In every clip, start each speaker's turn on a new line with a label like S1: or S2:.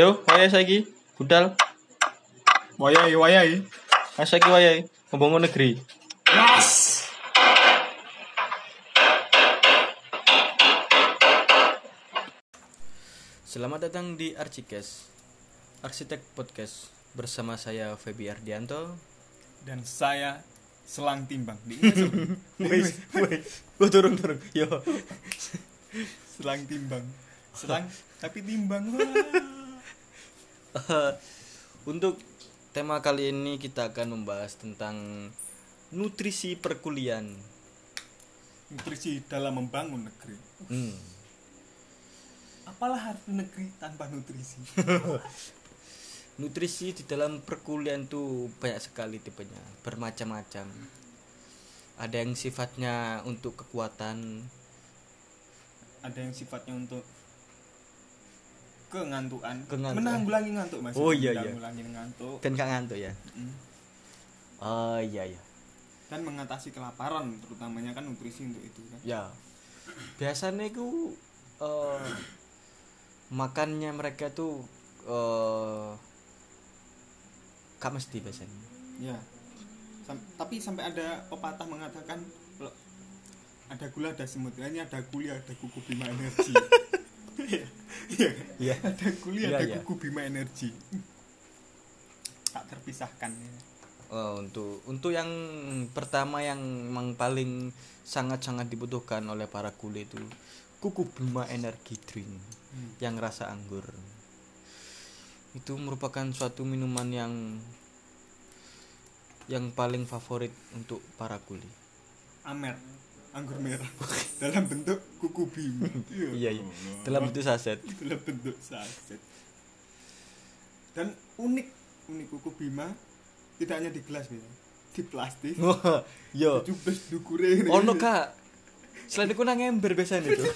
S1: Yo, wayai saiki budal,
S2: Wayai, wayai.
S1: Mas saiki wayai ngebangun negeri.
S2: Yes.
S1: Selamat datang di Archikes, Arsitek Podcast bersama saya Febi Ardianto.
S2: Dan saya selang timbang. Diingat, Sob?
S1: Wes, wes, gua turun turun. Yo,
S2: selang timbang. Selang tapi timbang. Wah.
S1: Eh, untuk tema kali ini kita akan membahas tentang nutrisi perkuliahan.
S2: Nutrisi dalam membangun negeri.
S1: Hmm.
S2: Apalah arti negeri tanpa nutrisi?
S1: Nutrisi di dalam perkuliahan tuh banyak sekali tipenya, bermacam-macam. Ada yang sifatnya untuk kekuatan,
S2: Ada yang sifatnya untuk kengantukan.
S1: Kengantukan.
S2: Menanggulangi ngantuk, Mas.
S1: Oh, iya, iya.
S2: Menanggulangi ngantuk.
S1: kan gak ngantuk ya?
S2: Mm.
S1: Oh iya iya.
S2: Dan mengatasi kelaparan, terutamanya kan nutrisi untuk itu kan.
S1: Ya. Biasanya itu eh, makannya mereka tuh eh gak mesti biasanya.
S2: Ya. Sam- tapi sampai ada pepatah mengatakan kalau ada gula ada semut. Ya, Ini ada kuli ada kuku bima energi. Iya. Iya.
S1: Iya.
S2: Ada kuli
S1: Iya,
S2: ada
S1: iya.
S2: kuku bima energi. Tak terpisahkan. ya.
S1: Eh, untuk untuk yang pertama yang memang paling sangat-sangat dibutuhkan oleh para kuli itu kuku bima energy drink
S2: Hmm.
S1: yang rasa anggur itu merupakan suatu minuman yang yang paling favorit untuk para kuli
S2: Amer anggur merah dalam bentuk kuku bima.
S1: iya iya dalam bentuk saset
S2: dalam bentuk saset. Dan unik unik kuku bima tidak hanya di gelas ya. Di plastik.
S1: Wah, yo
S2: Dicubes dukure. ini.
S1: Oh. ono kak selain itu nang ember biasanya itu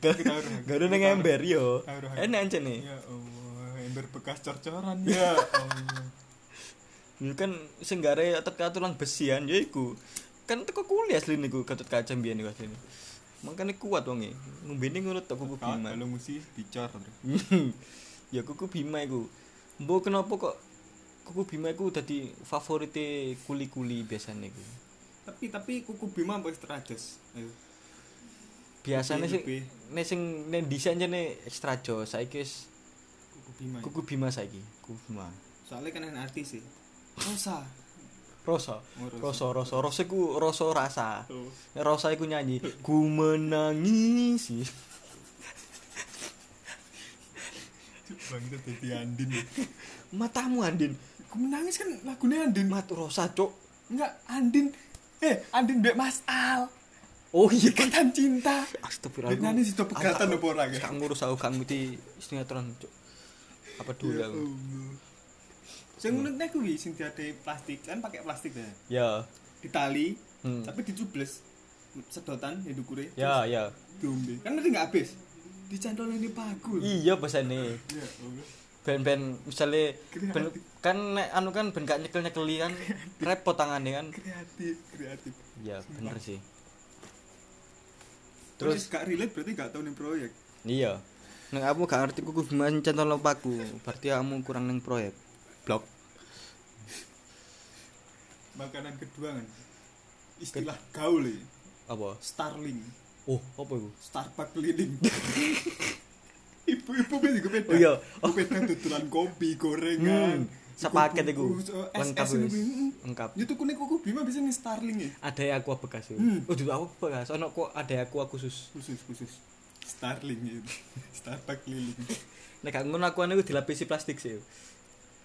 S1: gak ada nang ember yo enak aja nih
S2: Ya Allah, ember bekas cor-coran ya Allah.
S1: Ya kan sing gare teka tulang besian ya iku. Kan teko kuliah asli niku Gatot Kaca mbiyen niku asline. Makane kuat wonge. Ngombene ngono tok kuku
S2: Kalau
S1: Bima.
S2: kalau musi dicor.
S1: ya kuku Bima iku. Mbok kenapa kok kuku Bima iku dadi favorite kuli-kuli biasane iku.
S2: Tapi tapi kuku Bima apa extra jus? Ayo.
S1: Biasane sing
S2: iya, Lebih-
S1: nek sing nek desain jane extra jo saiki wis
S2: Kuku Bima.
S1: kuku Bima saiki, kuku Bima.
S2: Soalnya kan enak arti sih. Rosa.
S1: Rasa,
S2: Oh,
S1: rasa, rasa,
S2: rasa.
S1: rasa iku rasa rasa.
S2: Oh.
S1: Rosa iku nyanyi ku menangis
S2: Bangsa dadi Andin.
S1: matamu Andin
S2: Aku menangis kan lagunya Andin.
S1: matu Rosa cok
S2: Enggak, Andin. Eh, Andin Mbak Mas Al.
S1: oh iya kan
S2: Ikatan cinta.
S1: astagfirullah
S2: Dia nyanyi situ pegatan apa orang ya?
S1: sekarang ngurus aku kang di sinetron cok apa dulu
S2: Ya
S1: aku
S2: Allah. Sing uniknya kuwi sing diadai plastik kan pakai plastik ya.
S1: ya
S2: Ditali,
S1: Hmm.
S2: tapi dicubles sedotan ya dukure.
S1: ya ya
S2: diombe kan nanti nggak habis dicantol ini bagul
S1: iya bahasane
S2: ya Allah.
S1: ben-ben misalnya
S2: Kreatif.
S1: ben, kan nek anu kan ben gak nyekel nyekeli kan repot tangannya kan
S2: kreatif kreatif
S1: ya bener sih
S2: terus gak relate berarti gak tau nih proyek
S1: iya nek kamu gak ngerti kuku gimana contoh lompaku berarti kamu kurang neng proyek blok
S2: makanan kedua kan istilah gaul ya
S1: apa
S2: starling
S1: oh apa itu
S2: starbuck keliling ibu-ibu kan juga beda
S1: Oh, iya.
S2: oh. beda tutulan kopi gorengan
S1: Hmm, sepaket itu.
S2: kuku-kuku, so, es-
S1: Lengkap,
S2: es ini,
S1: wis.
S2: hmm.
S1: Lengkap.
S2: itu kuning kuku bima bisa nih starling ya
S1: ada yang aku bekas itu
S2: Hmm.
S1: oh dulu aku bekas ono kok ada yang aku khusus
S2: khusus khusus starling ya starbuck keliling
S1: nek gak ngono aku ane dilapisi plastik sih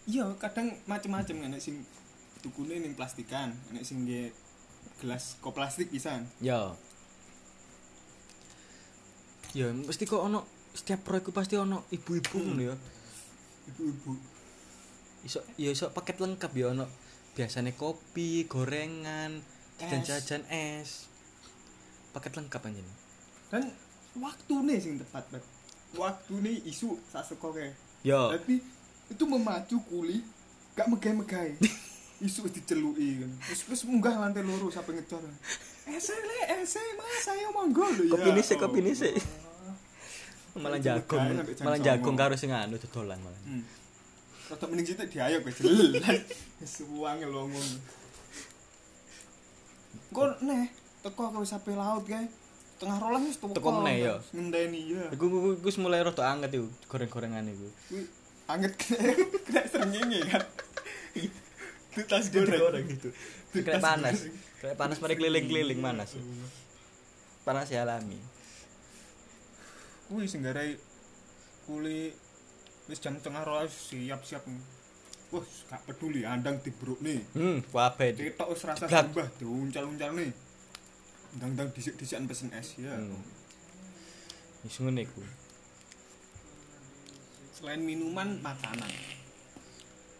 S2: iya kadang macem-macem enek sing tukune ning plastikan enek sing nggih gelas kok plastik pisan
S1: ya ya mesti kok ono setiap proyekku pasti ono ibu-ibu ngono ya
S2: ibu-ibu
S1: iso ya iso paket lengkap ya ono biasanya kopi gorengan
S2: Es.
S1: jajan-jajan es paket lengkap aja nih
S2: dan waktune sing tepat bet waktune isu sasekoke
S1: ya
S2: tapi itu memacu kuli gak megai-megai isu wis diceluki kan wis wis munggah lantai loro sampe ngecor ese le ese mas ayo monggo lho iya. oh.
S1: Oh, Kopi ini sih, kopi ini sih. malah
S2: Jam
S1: jagung
S2: tiga sampai jam
S1: malah
S2: songo.
S1: jagung karo sing anu dodolan malah
S2: Hmm. Rodok mending situ diayo gue jelas. Suwang lo ngomong. Gue neh, teko aku wis sampai laut guys. Tengah rolas wis teko.
S1: Teko meneh, ya?
S2: Ngenteni ya.
S1: Iku iku iku wis mulai rada anget iku goreng-gorengan iku.
S2: Kuwi anget kena kena serengenge kan. Itu Tas
S1: Digoreng
S2: goreng.
S1: gitu.
S2: Itu
S1: Kena
S2: tas
S1: panas.
S2: goreng.
S1: Kena panas mari keliling-keliling panas. Panas ya alami.
S2: Kuwi sing garai kuli wis jam tengah rolas siap-siap. Wah, gak peduli andang dibruk nih.
S1: Hmm, kabeh.
S2: Cetok wis rasa
S1: Cegat.
S2: sembah diuncal-uncal nih. Ndang-ndang disik-disikan pesen es ya.
S1: Hmm. Wis ngene iku.
S2: Selain minuman, makanan.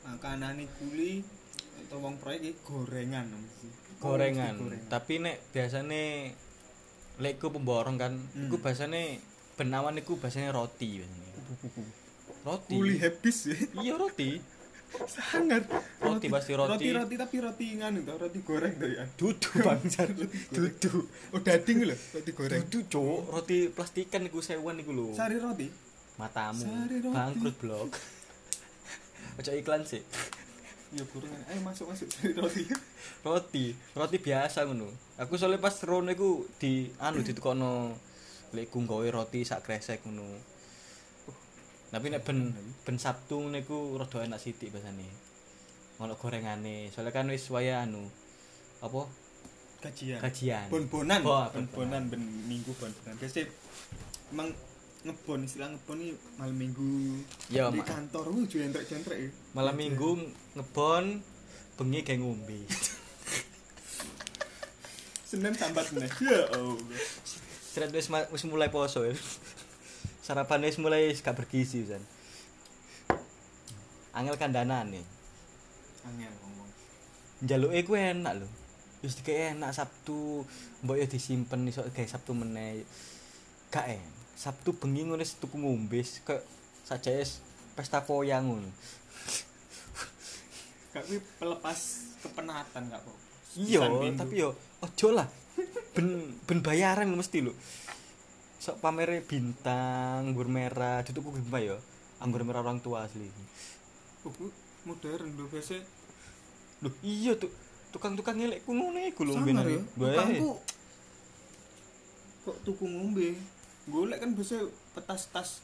S2: Makanan iki kuli atau wong proyek iki gorengan namanya sih.
S1: Gorengan.
S2: Mesti gorengan.
S1: Tapi nek biasane lek iku pemborong kan,
S2: Hmm.
S1: iku biasane benawan iku biasane roti biasane. Roti.
S2: Kuli habis ya.
S1: Iya roti.
S2: Sangat.
S1: Roti pasti roti.
S2: Roti roti tapi roti nganu toh, roti goreng toh ya.
S1: Dudu bangsat. Dudu.
S2: Oh dading lho, roti goreng.
S1: Dudu, Cuk. Roti plastikan iku sewan iku lho.
S2: Sari roti.
S1: matamu
S2: Sari roti.
S1: bangkrut blok ojo iklan sih
S2: Ya gorengan. Ayo masuk masuk sari roti.
S1: roti roti biasa ngono aku soalnya pas rono iku di anu ditukokno lek ku nggawe roti sak kresek ngono tapi nek ben ben Sabtu ngono iku rada enak sithik biasane ono gorengane soalnya kan wis waya anu apa
S2: Gajian.
S1: Gajian.
S2: Bon-bonan.
S1: Bo-
S2: Bon-bonan ben minggu bon-bonan. Biasa emang ngebon istilah ngebon ini malam minggu
S1: Ya,
S2: di
S1: Ma.
S2: kantor lu jentrek jentrek ya
S1: malam minggu ngebon bengi kayak ngombe
S2: senin sambat senin ya allah
S1: Seret wis ma- wis mulai poso ya. Sarapan wis mulai gak bergizi pisan. Angel kandanan nih.
S2: angel ngomong
S1: Njaluke ku enak lho. Wis dikek enak Sabtu, mbok yo disimpen iso gawe Sabtu meneh. Gak en. Sabtu bengi ngono wis tuku ngombe wis kok sajake wis pesta koyang ngono.
S2: gak kuwi pelepas kepenatan gak kok
S1: Iya, tapi yo ojo lah. Ben ben bayaran lho mesti lho. Sok pamere bintang, anggur merah, dituku gempa yo. Anggur merah orang tua asli.
S2: buku Oh, modern lho biasa
S1: Loh, iya tuh tukang-tukang ngelek ku ngono iku lho eh.
S2: sangar ya
S1: Bae.
S2: tukangku kok tuku ngombe golek kan biasa petas-tas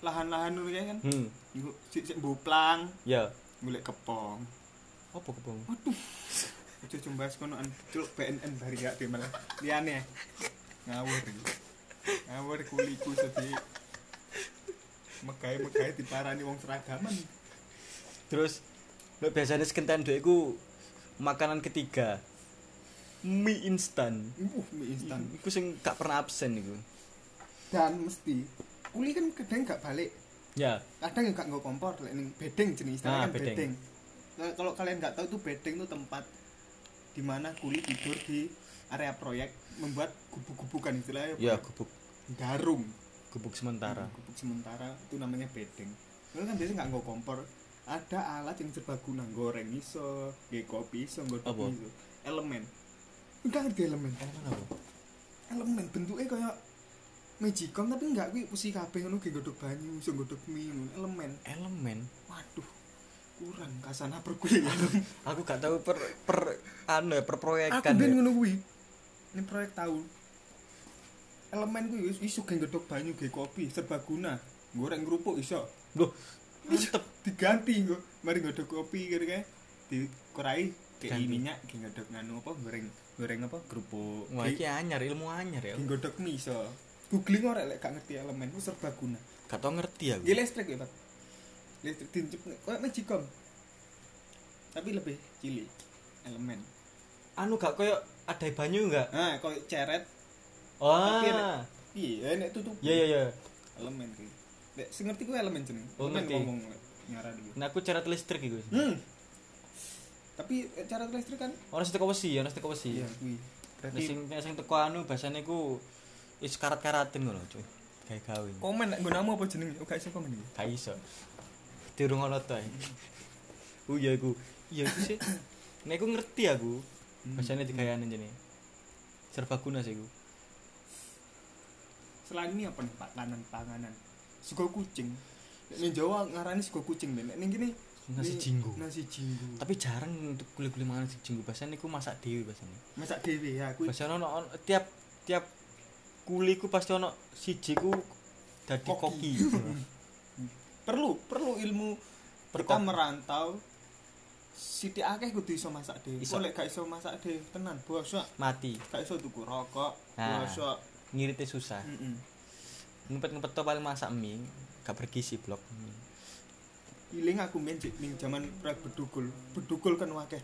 S2: lahan-lahan ngono kae kan
S1: Hmm,
S2: Nggo- sik sik mboplang
S1: ya.
S2: golek kepong
S1: Apa kepung?
S2: waduh aja coba konoan cuk BNN bari gak di malah liane ngawur iki. ngawur kuliku sedih megai-megai diparani wong seragaman
S1: Terus lo biasanya sekentan dhuwit iku makanan ketiga. Mie instan.
S2: uh mie instan
S1: Iku sing gak pernah absen iku.
S2: dan mesti kuli kan kadang gak balik
S1: Ya,
S2: kadang ya gak nggak kompor lek ning bedeng jenis
S1: Ah,
S2: istilahnya kan
S1: bedeng.
S2: bedeng, Nah, kalau kalian nggak tahu tuh bedeng tuh tempat di mana kuli tidur di area proyek membuat gubuk-gubukan istilahnya
S1: ya
S2: proyek
S1: gubuk
S2: garung
S1: gubuk sementara.
S2: gubuk sementara itu namanya bedeng Lalu kan biasanya nggak nggak kompor ada alat yang serbaguna goreng iso nggih kopi iso nggak
S1: Apa?
S2: iso elemen enggak ngerti elemen elemen bentuknya kayak magicom tapi enggak kuwi usi kabeh ngono nggih godhog banyu iso godhog mie ngono. elemen
S1: Elemen.
S2: waduh kurang kasana perkuliahan
S1: Aku gak tahu per per anu ya, per
S2: aku
S1: proyekan.
S2: ben
S1: ya.
S2: ngono kuwi ini proyek tahu elemen kuwi wis iso nggih godhog banyu nggih kopi serbaguna goreng kerupuk iso
S1: Loh, mantep.
S2: diganti nggo mari godhog kopi kira kae dikurai kayak
S1: Ganti.
S2: minyak kayak godhog nganu apa goreng goreng apa kerupuk
S1: Wah, iki anyar, ilmu anyar ya.
S2: kayak godhog mie iso googling ora lek gak ngerti elemen ku serbaguna
S1: Gak tau ngerti aku.
S2: ya listrik ya pak listrik dincep kayak magicom tapi lebih cilik elemen
S1: Anu gak koyo ada banyu gak?
S2: nah kalau ceret
S1: Oh.
S2: Tapi ada- iya nek tutup
S1: Ya ya ya.
S2: elemen kuwi nek sing ngerti kuwi elemen jeneng
S1: Oh,
S2: Elemen
S1: ngerti.
S2: ngomong nyara dulu
S1: Nah, aku cara listrik iku.
S2: hmm tapi eh, ceret listrik kan
S1: Orang sing teko wesi, orang sing teko wesi.
S2: iya kuwi
S1: Nek
S2: berarti
S1: sing nek sing teko anu bahasane iku is karat-karatin ngono, cuy. Kayak gawe.
S2: komen nek nggonamu apa jenenge oh gak iso komen iki
S1: Kayak iso. Dirungono to. ae. Oh iya iku. Iya iku sih. Nek aku ngerti aku. Hmm. Bahasane digayane jene. Serbaguna sih iku.
S2: selain mie apa nih pakanan panganan sego kucing Nek ning Jawa ngarani sego kucing nek ning kene
S1: Nasi
S2: ning-
S1: jinggo.
S2: nasi jinggo
S1: tapi jarang untuk gule-gule mangan sing jinggo biasanya iku masak dhewe biasanya
S2: masak dhewe ya aku
S1: biasanya ono ono- tiap tiap kuli ku pasti ono siji ku dadi koki,
S2: Koki. perlu perlu ilmu kita
S1: Perkoki.
S2: merantau sithik akeh kudu iso masak dhewe
S1: Iso.
S2: kok lek gak iso masak dhewe tenan bosok
S1: mati
S2: gak iso tuku rokok
S1: Nah.
S2: bosok
S1: ngirite susah
S2: heeh
S1: ngumpet-ngumpet to paling masak mie gak bergizi blok
S2: iling aku main ning jaman pra bedugul bedugul kan wakeh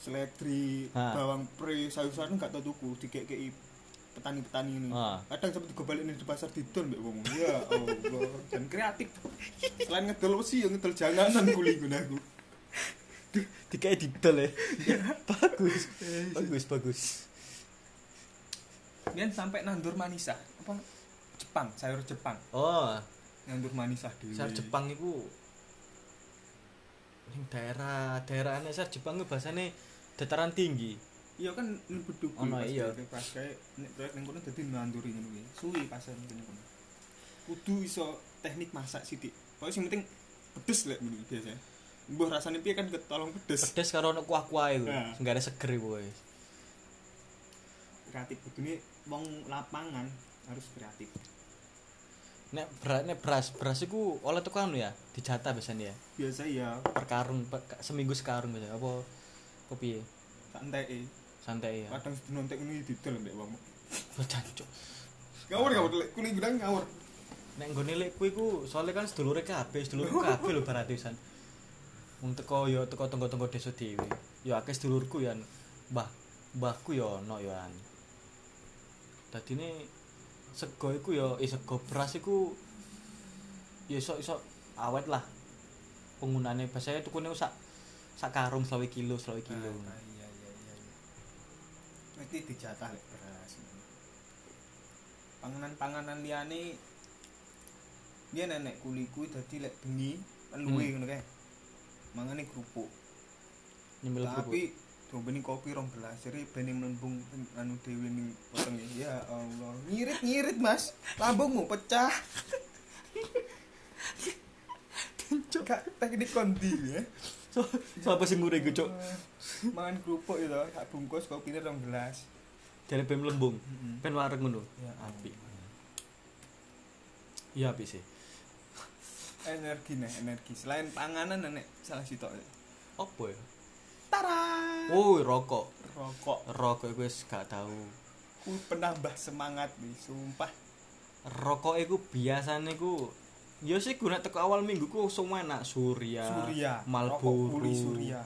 S2: seledri
S1: Ha.
S2: bawang pre sayur-sayuran gak tau tuku dikekeki petani-petani ini
S1: Ha.
S2: kadang sampe digobalik nih di pasar didon mbek wong ya Allah dan kreatif selain ngedol usi ya ngedol janganan kuli gunaku
S1: dikai didol ya bagus bagus bagus
S2: Mian sampai nandur manisa apa Jepang sayur Jepang
S1: oh
S2: nandur manisa dulu
S1: sar Jepang iku ning daerah daerah aneh sar Jepang iku bahasane dataran tinggi
S2: iya kan ini bedugul
S1: Ono,
S2: pas
S1: iya.
S2: kayak- pas kayak nek proyek ning kono dadi nanduri ngono kuwi suwi pasar ning kono kudu iso teknik masak sithik pokoke sing penting pedes lek ngono biasa mbuh rasane piye kan ketolong pedes
S1: pedes karo ono kuah-kuah iku
S2: Nah.
S1: sing ada seger iku wis
S2: kreatif kudune wong lapangan harus kreatif
S1: nek beras nek beras beras iku oleh teko anu ya dijata biasanya ya
S2: biasa ya
S1: per karung per, ka- seminggu sekarung biasanya apa apa piye
S2: tak enteke
S1: santai ya
S2: kadang sedino entek ngono didol mbek wong
S1: jancuk
S2: ngawur ngawur lek kuwi gudang ngawur
S1: nek nggone lekku iku soalnya kan sedulure kabeh sedulurku kabeh lho baratusan wong teko yo teko tonggo-tonggo desa dhewe yo akeh sedulurku ya mbah mbahku yo ono yo an dadine sego iku yo eh sego beras iku yo iso iso awet lah penggunane biasanya tukune sak sak karung selawe kilo selawe kilo
S2: Ah, iya iya iya mesti dijatah lek beras panganan-panganan liyane dia nenek kuli kuwi dadi lek bengi kan luwe ngono kae mangane kerupuk
S1: nyemil kerupuk
S2: tapi dombeni kopi rong gelas jadi bene melembung anu dewe ning wetenge ya Allah ngirit-ngirit Mas lambungmu pecah Gak teknik kondi ya
S1: so, so apa sing ngure iku cuk
S2: Mangan kerupuk itu, tak bungkus kopinya rong gelas.
S1: jare ben lembung
S2: Mm-mm.
S1: ben wareg ngono
S2: Ya,
S1: apik iya apik sih
S2: Energi nih, energi. Selain panganan nenek salah sitok. ya.
S1: apa ya
S2: Tara.
S1: oh rokok
S2: Rokok.
S1: rokok iku wis gak tau
S2: Ku penambah semangat nih, sumpah.
S1: rokok iku biasane iku ya sih gue nek teko awal minggu ku langsung enak surya
S2: Surya.
S1: Ya,
S2: Rokok
S1: malboro
S2: kuli Surya.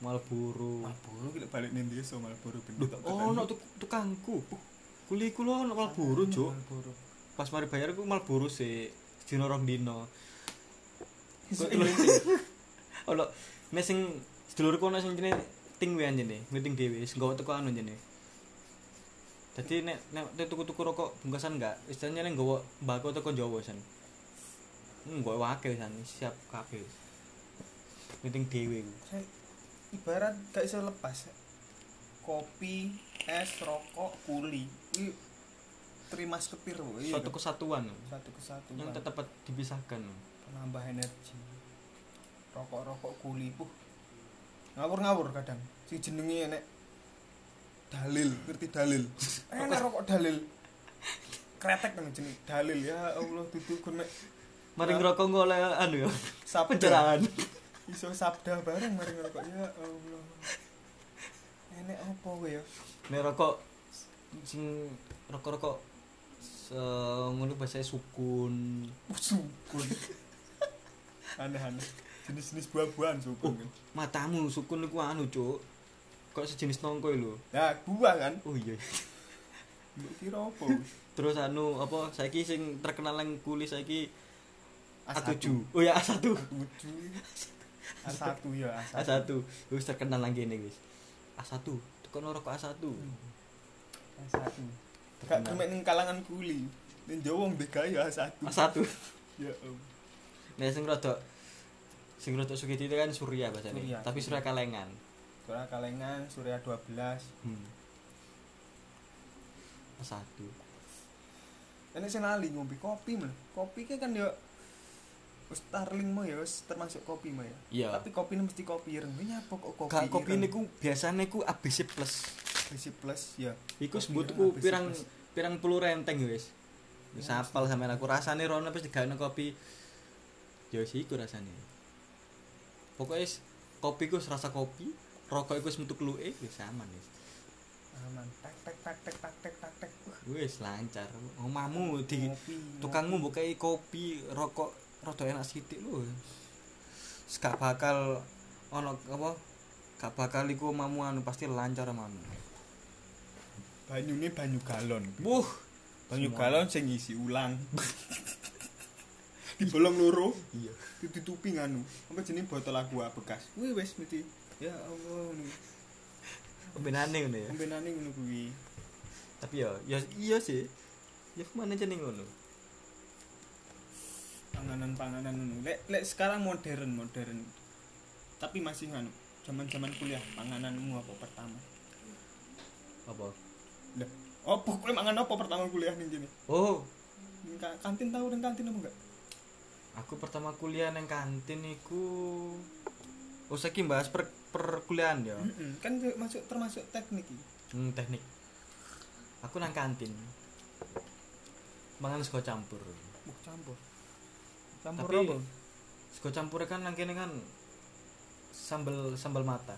S1: malboro
S2: Malboro kita balik nih dia so Malboro
S1: Duh,
S2: bener. tak
S1: oh
S2: ketemu.
S1: no tuk tukangku kuli ku lo ono malboro cuk
S2: Malboro.
S1: pas mari bayar ku malboro sih dino rong dino
S2: Iso
S1: Kok-
S2: ilang sih.
S1: ono nek sing sedulurku ono sing jenenge ting wean jenenge ngeting dhewe sing gawa teko anu jenenge dadi nek nek nek tuku-tuku rokok bungkasan enggak istilahnya nek gawa mbako teko Jawa san hmm gawa akeh san siap kabeh ngeting dhewe ku
S2: Saya- Ibarat gak bisa lepas. Kopi, es, rokok, kuli. Ini terima seketir. woy.
S1: suatu kesatuan
S2: Iya, satu kesatuan.
S1: yang tetap dipisahkan
S2: penambah energi rokok-rokok kuli puh ngawur-ngawur kadang si jenenge enek dalil ngerti dalil enak rokok dalil kretek kan jeneng dalil ya Allah duduk gue mek
S1: mari
S2: Nah.
S1: ngerokok nggak oleh anu ya
S2: sabda
S1: pencerahan
S2: iso sabda bareng mari ngerokok ya Allah enek apa gue ya
S1: nek rokok sing rokok-rokok se- ngono bahasanya sukun
S2: Uh, sukun aneh-aneh jenis-jenis buah-buahan sukun kan
S1: matamu sukun iku anu cuk kok sejenis nongko lho
S2: nah buah kan
S1: oh iya
S2: mbok kira apa
S1: terus anu apa saiki sing terkenal yang kulis saiki
S2: A1.
S1: A7 oh ya A1
S2: tujuh A1 ya A1
S1: A1 wis terkenal nang kene wis A1 tekan rokok A1
S2: A1 gak
S1: Terkenal.
S2: Hmm. kemek ning kalangan kuli ning Jawa wong dega ya A1
S1: A1
S2: ya om
S1: nah sing rada sing rada sugih itu kan Surya bahasane
S2: Surya.
S1: tapi Surya kalengan
S2: Surya Kalengan Surya 12
S1: hmm. A1
S2: enek sing lali ngombe kopi men kopi ki kan ya wis Starling mah ya wis termasuk kopi mah ya
S1: Iya.
S2: tapi kopi mesti kopi ireng ini apa kok kopi
S1: Gak kopi
S2: ireng?
S1: niku biasane ku ABC plus.
S2: ABC plus ya
S1: Iku
S2: Kopi
S1: sebutku
S2: ireng, ABC
S1: pirang
S2: plus.
S1: pirang puluh renteng ya, wis. Wis
S2: Ya,
S1: apal sampean aku rasane rono wis digawe kopi. Ya wis iku rasane. Pokoknya wis kopi ku wis rasa kopi, rokok iku wis metu kluke wis aman wis.
S2: aman tak tak tak tak tak tak tak tak ya. Wah,
S1: Wis lancar. Omamu di
S2: ngopi
S1: tukangmu bukai kopi, rokok rada enak sithik lho. Wis Gak bakal ono apa? Gak bakal iku omamu anu pasti lancar omamu.
S2: banyu ini banyu galon
S1: Wuh,
S2: banyu
S1: Semua.
S2: galon sing ngisi ulang dibolong loro
S1: iya.
S2: itu ditutupi nganu apa jenis botol aqua bekas wih wes mesti ya Allah ngono
S1: Benane ngono ya.
S2: kombenane ngono kuwi
S1: tapi ya ya iya sih ya kemana aja nih ngono
S2: panganan-panganan ngono lek lek sekarang modern modern tapi masih nganu zaman-zaman kuliah pangananmu apa pertama
S1: apa
S2: lah oh kowe mangan apa pertama kuliah ning kene
S1: oh
S2: Ning ka- kantin tahu ning kantin apa enggak
S1: aku pertama kuliah neng kantin iku oh saya bahas per perkuliahan ya
S2: Mm-mm. kan ke- masuk termasuk teknik iki
S1: hmm, teknik aku nang kantin mangan sego campur
S2: Wah, campur campur
S1: Tapi-
S2: apa
S1: sego campur kan nang kene kan sambal sambal mata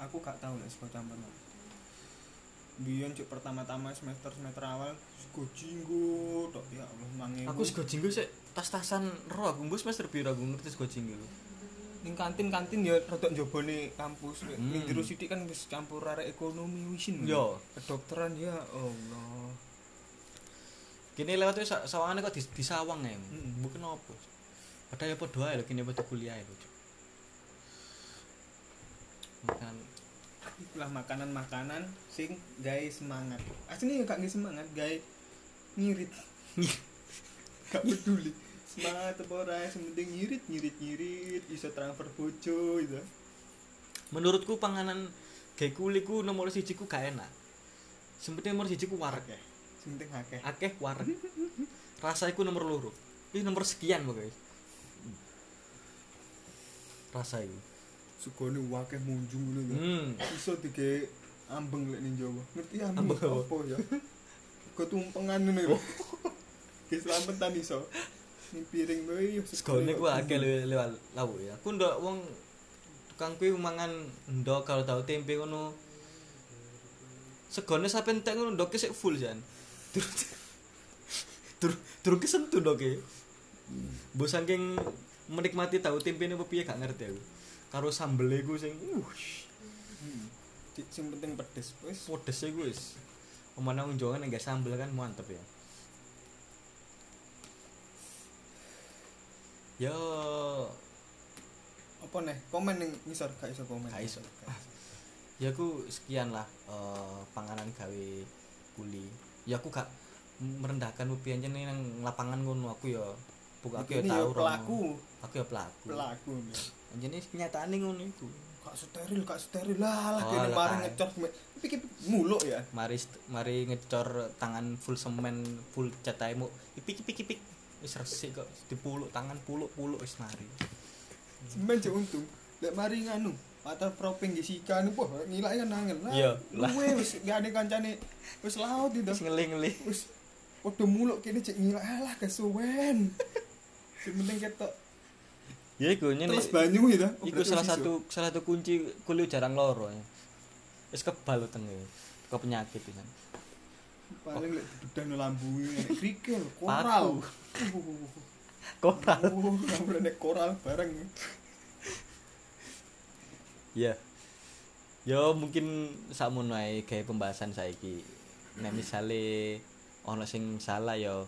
S2: aku gak tahu lek sego campur mau Biyen cuk pertama-tama semester semester awal sego jinggo tok ya Allah mangewu.
S1: aku sego jinggo sih tas-tasan ro aku mbus semester biru aku ngerti sego jinggo
S2: ning kantin-kantin ya rodok njobone kampus Lek
S1: Hmm.
S2: ning jero sithik kan wis campur arek ekonomi wisin
S1: Yo.
S2: kedokteran ya Allah
S1: kini lewat itu sawangannya kok di, disawang ya
S2: Mm-mm.
S1: bukan apa padahal ya podo aja lho kini podo kuliah ya Cuk. makanan
S2: itulah makanan-makanan sing gawe semangat aslinya ya gak gawe semangat gawe ngirit gak peduli semangat apa ora yang penting ngirit ngirit ngirit iso transfer bojo gitu. itu
S1: menurutku panganan kayak kuliku nomor siji ku gak enak sempetnya nomor siji ku wareg
S2: akeh Sing penting akeh
S1: akeh wareg rasa iku nomor loro ini nomor sekian kok guys rasa iku
S2: sugone akeh munjung ngono lho.
S1: hmm
S2: iso tiga ambeng lek ning Jawa. Ngerti
S1: Ambeng
S2: ambeng
S1: apa?
S2: apa ya? Ketumpengan ngene lho. Ki slametan iso. Ning piring kowe yo
S1: segone ku akeh le- lewat lauk ya. Aku ndak wong tukang kuwi mangan ndok kalau tau tempe ngono. Segone sampe entek ngono ndoke sik full jan. Tur tur tur kesentuh ndoke. Mbok saking menikmati tahu tempe ini apa piye gak ngerti aku. Karo sambele ku sing wush,
S2: Cik, Hmm. Sing penting pedes wis.
S1: pedese ku wis. Omana wong Jawa nggak sambel kan mantep ya. Yo,
S2: Apa neh? Komen ning ngisor gak iso komen.
S1: Gak iso. ya aku sekian lah eh, panganan gawe kuli ya aku gak merendahkan upi aja nih nang lapangan ngono aku ya buka aku ya
S2: Iki
S1: tahu
S2: yo pelaku,
S1: rono. aku ya pelaku
S2: pelaku. men.
S1: aja nih nyatane ngono iku
S2: Gak steril, gak steril. Lah lah
S1: Oh,
S2: kene
S1: lah,
S2: mari
S1: tai.
S2: ngecor. men. Pikir muluk ya.
S1: mari st- mari ngecor tangan full semen full cat ae mu ipik ipik ipik wis resik kok dipuluk tangan puluk-puluk wis mari
S2: Semen cek untung. Lek mari nganu, mata proping Jessica nu wah ngilak kan angel. Lah,
S1: Iya.
S2: Luwe wis gak ada kancane. Wis laut itu.
S1: wis ngelih-ngelih
S2: Wis waduh muluk kene cek ngilak alah kesuwen. Sing penting ketok
S1: ya iku nyene
S2: terus banyu itu.
S1: iku salah satu salah satu kunci kuli jarang loro ya wis kebal tenge ke penyakit ya. pisan
S2: paling lek dudang no lambunge nek krikel koral.
S1: koral
S2: Uh, kamu nek koral bareng.
S1: Ya. Yo mungkin sakmono ae gawe pembahasan saiki. Nek misale ono sing salah yo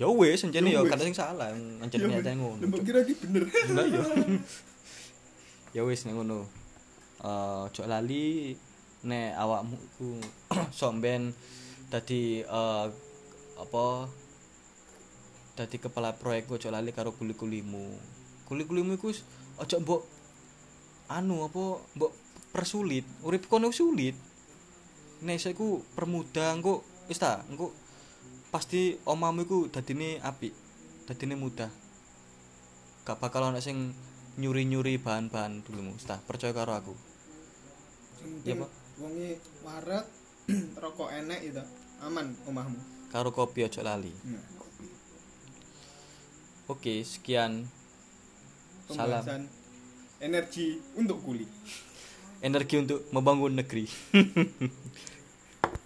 S1: yo wis encene
S2: Yo
S1: yo
S2: wis.
S1: kata sing salah encene
S2: Ya,
S1: nyatane
S2: Lha mbok
S1: ngono.
S2: kira iki bener.
S1: Enggak yo. Yo wis nek ngono. Eh ojo lali nek awakmu iku somben dadi eh, apa dadi kepala proyek ku ojo lali karo kuli-kulimu. Kuli-kulimu iku s- ojo mbok anu apa mbok persulit. Urip kono sulit. Nek saiku permudah engko wis ta engko pasti omamu iku dadine apik dadine mudah gak bakal ana sing nyuri-nyuri bahan-bahan dulu wis ta percaya karo aku
S2: Sing penting
S1: Iya, Pak.
S2: wonge warak rokok enek itu aman omahmu
S1: karo kopi ojo lali
S2: Nah,
S1: oke sekian salam
S2: pembahasan energi untuk kulit
S1: energi untuk membangun negeri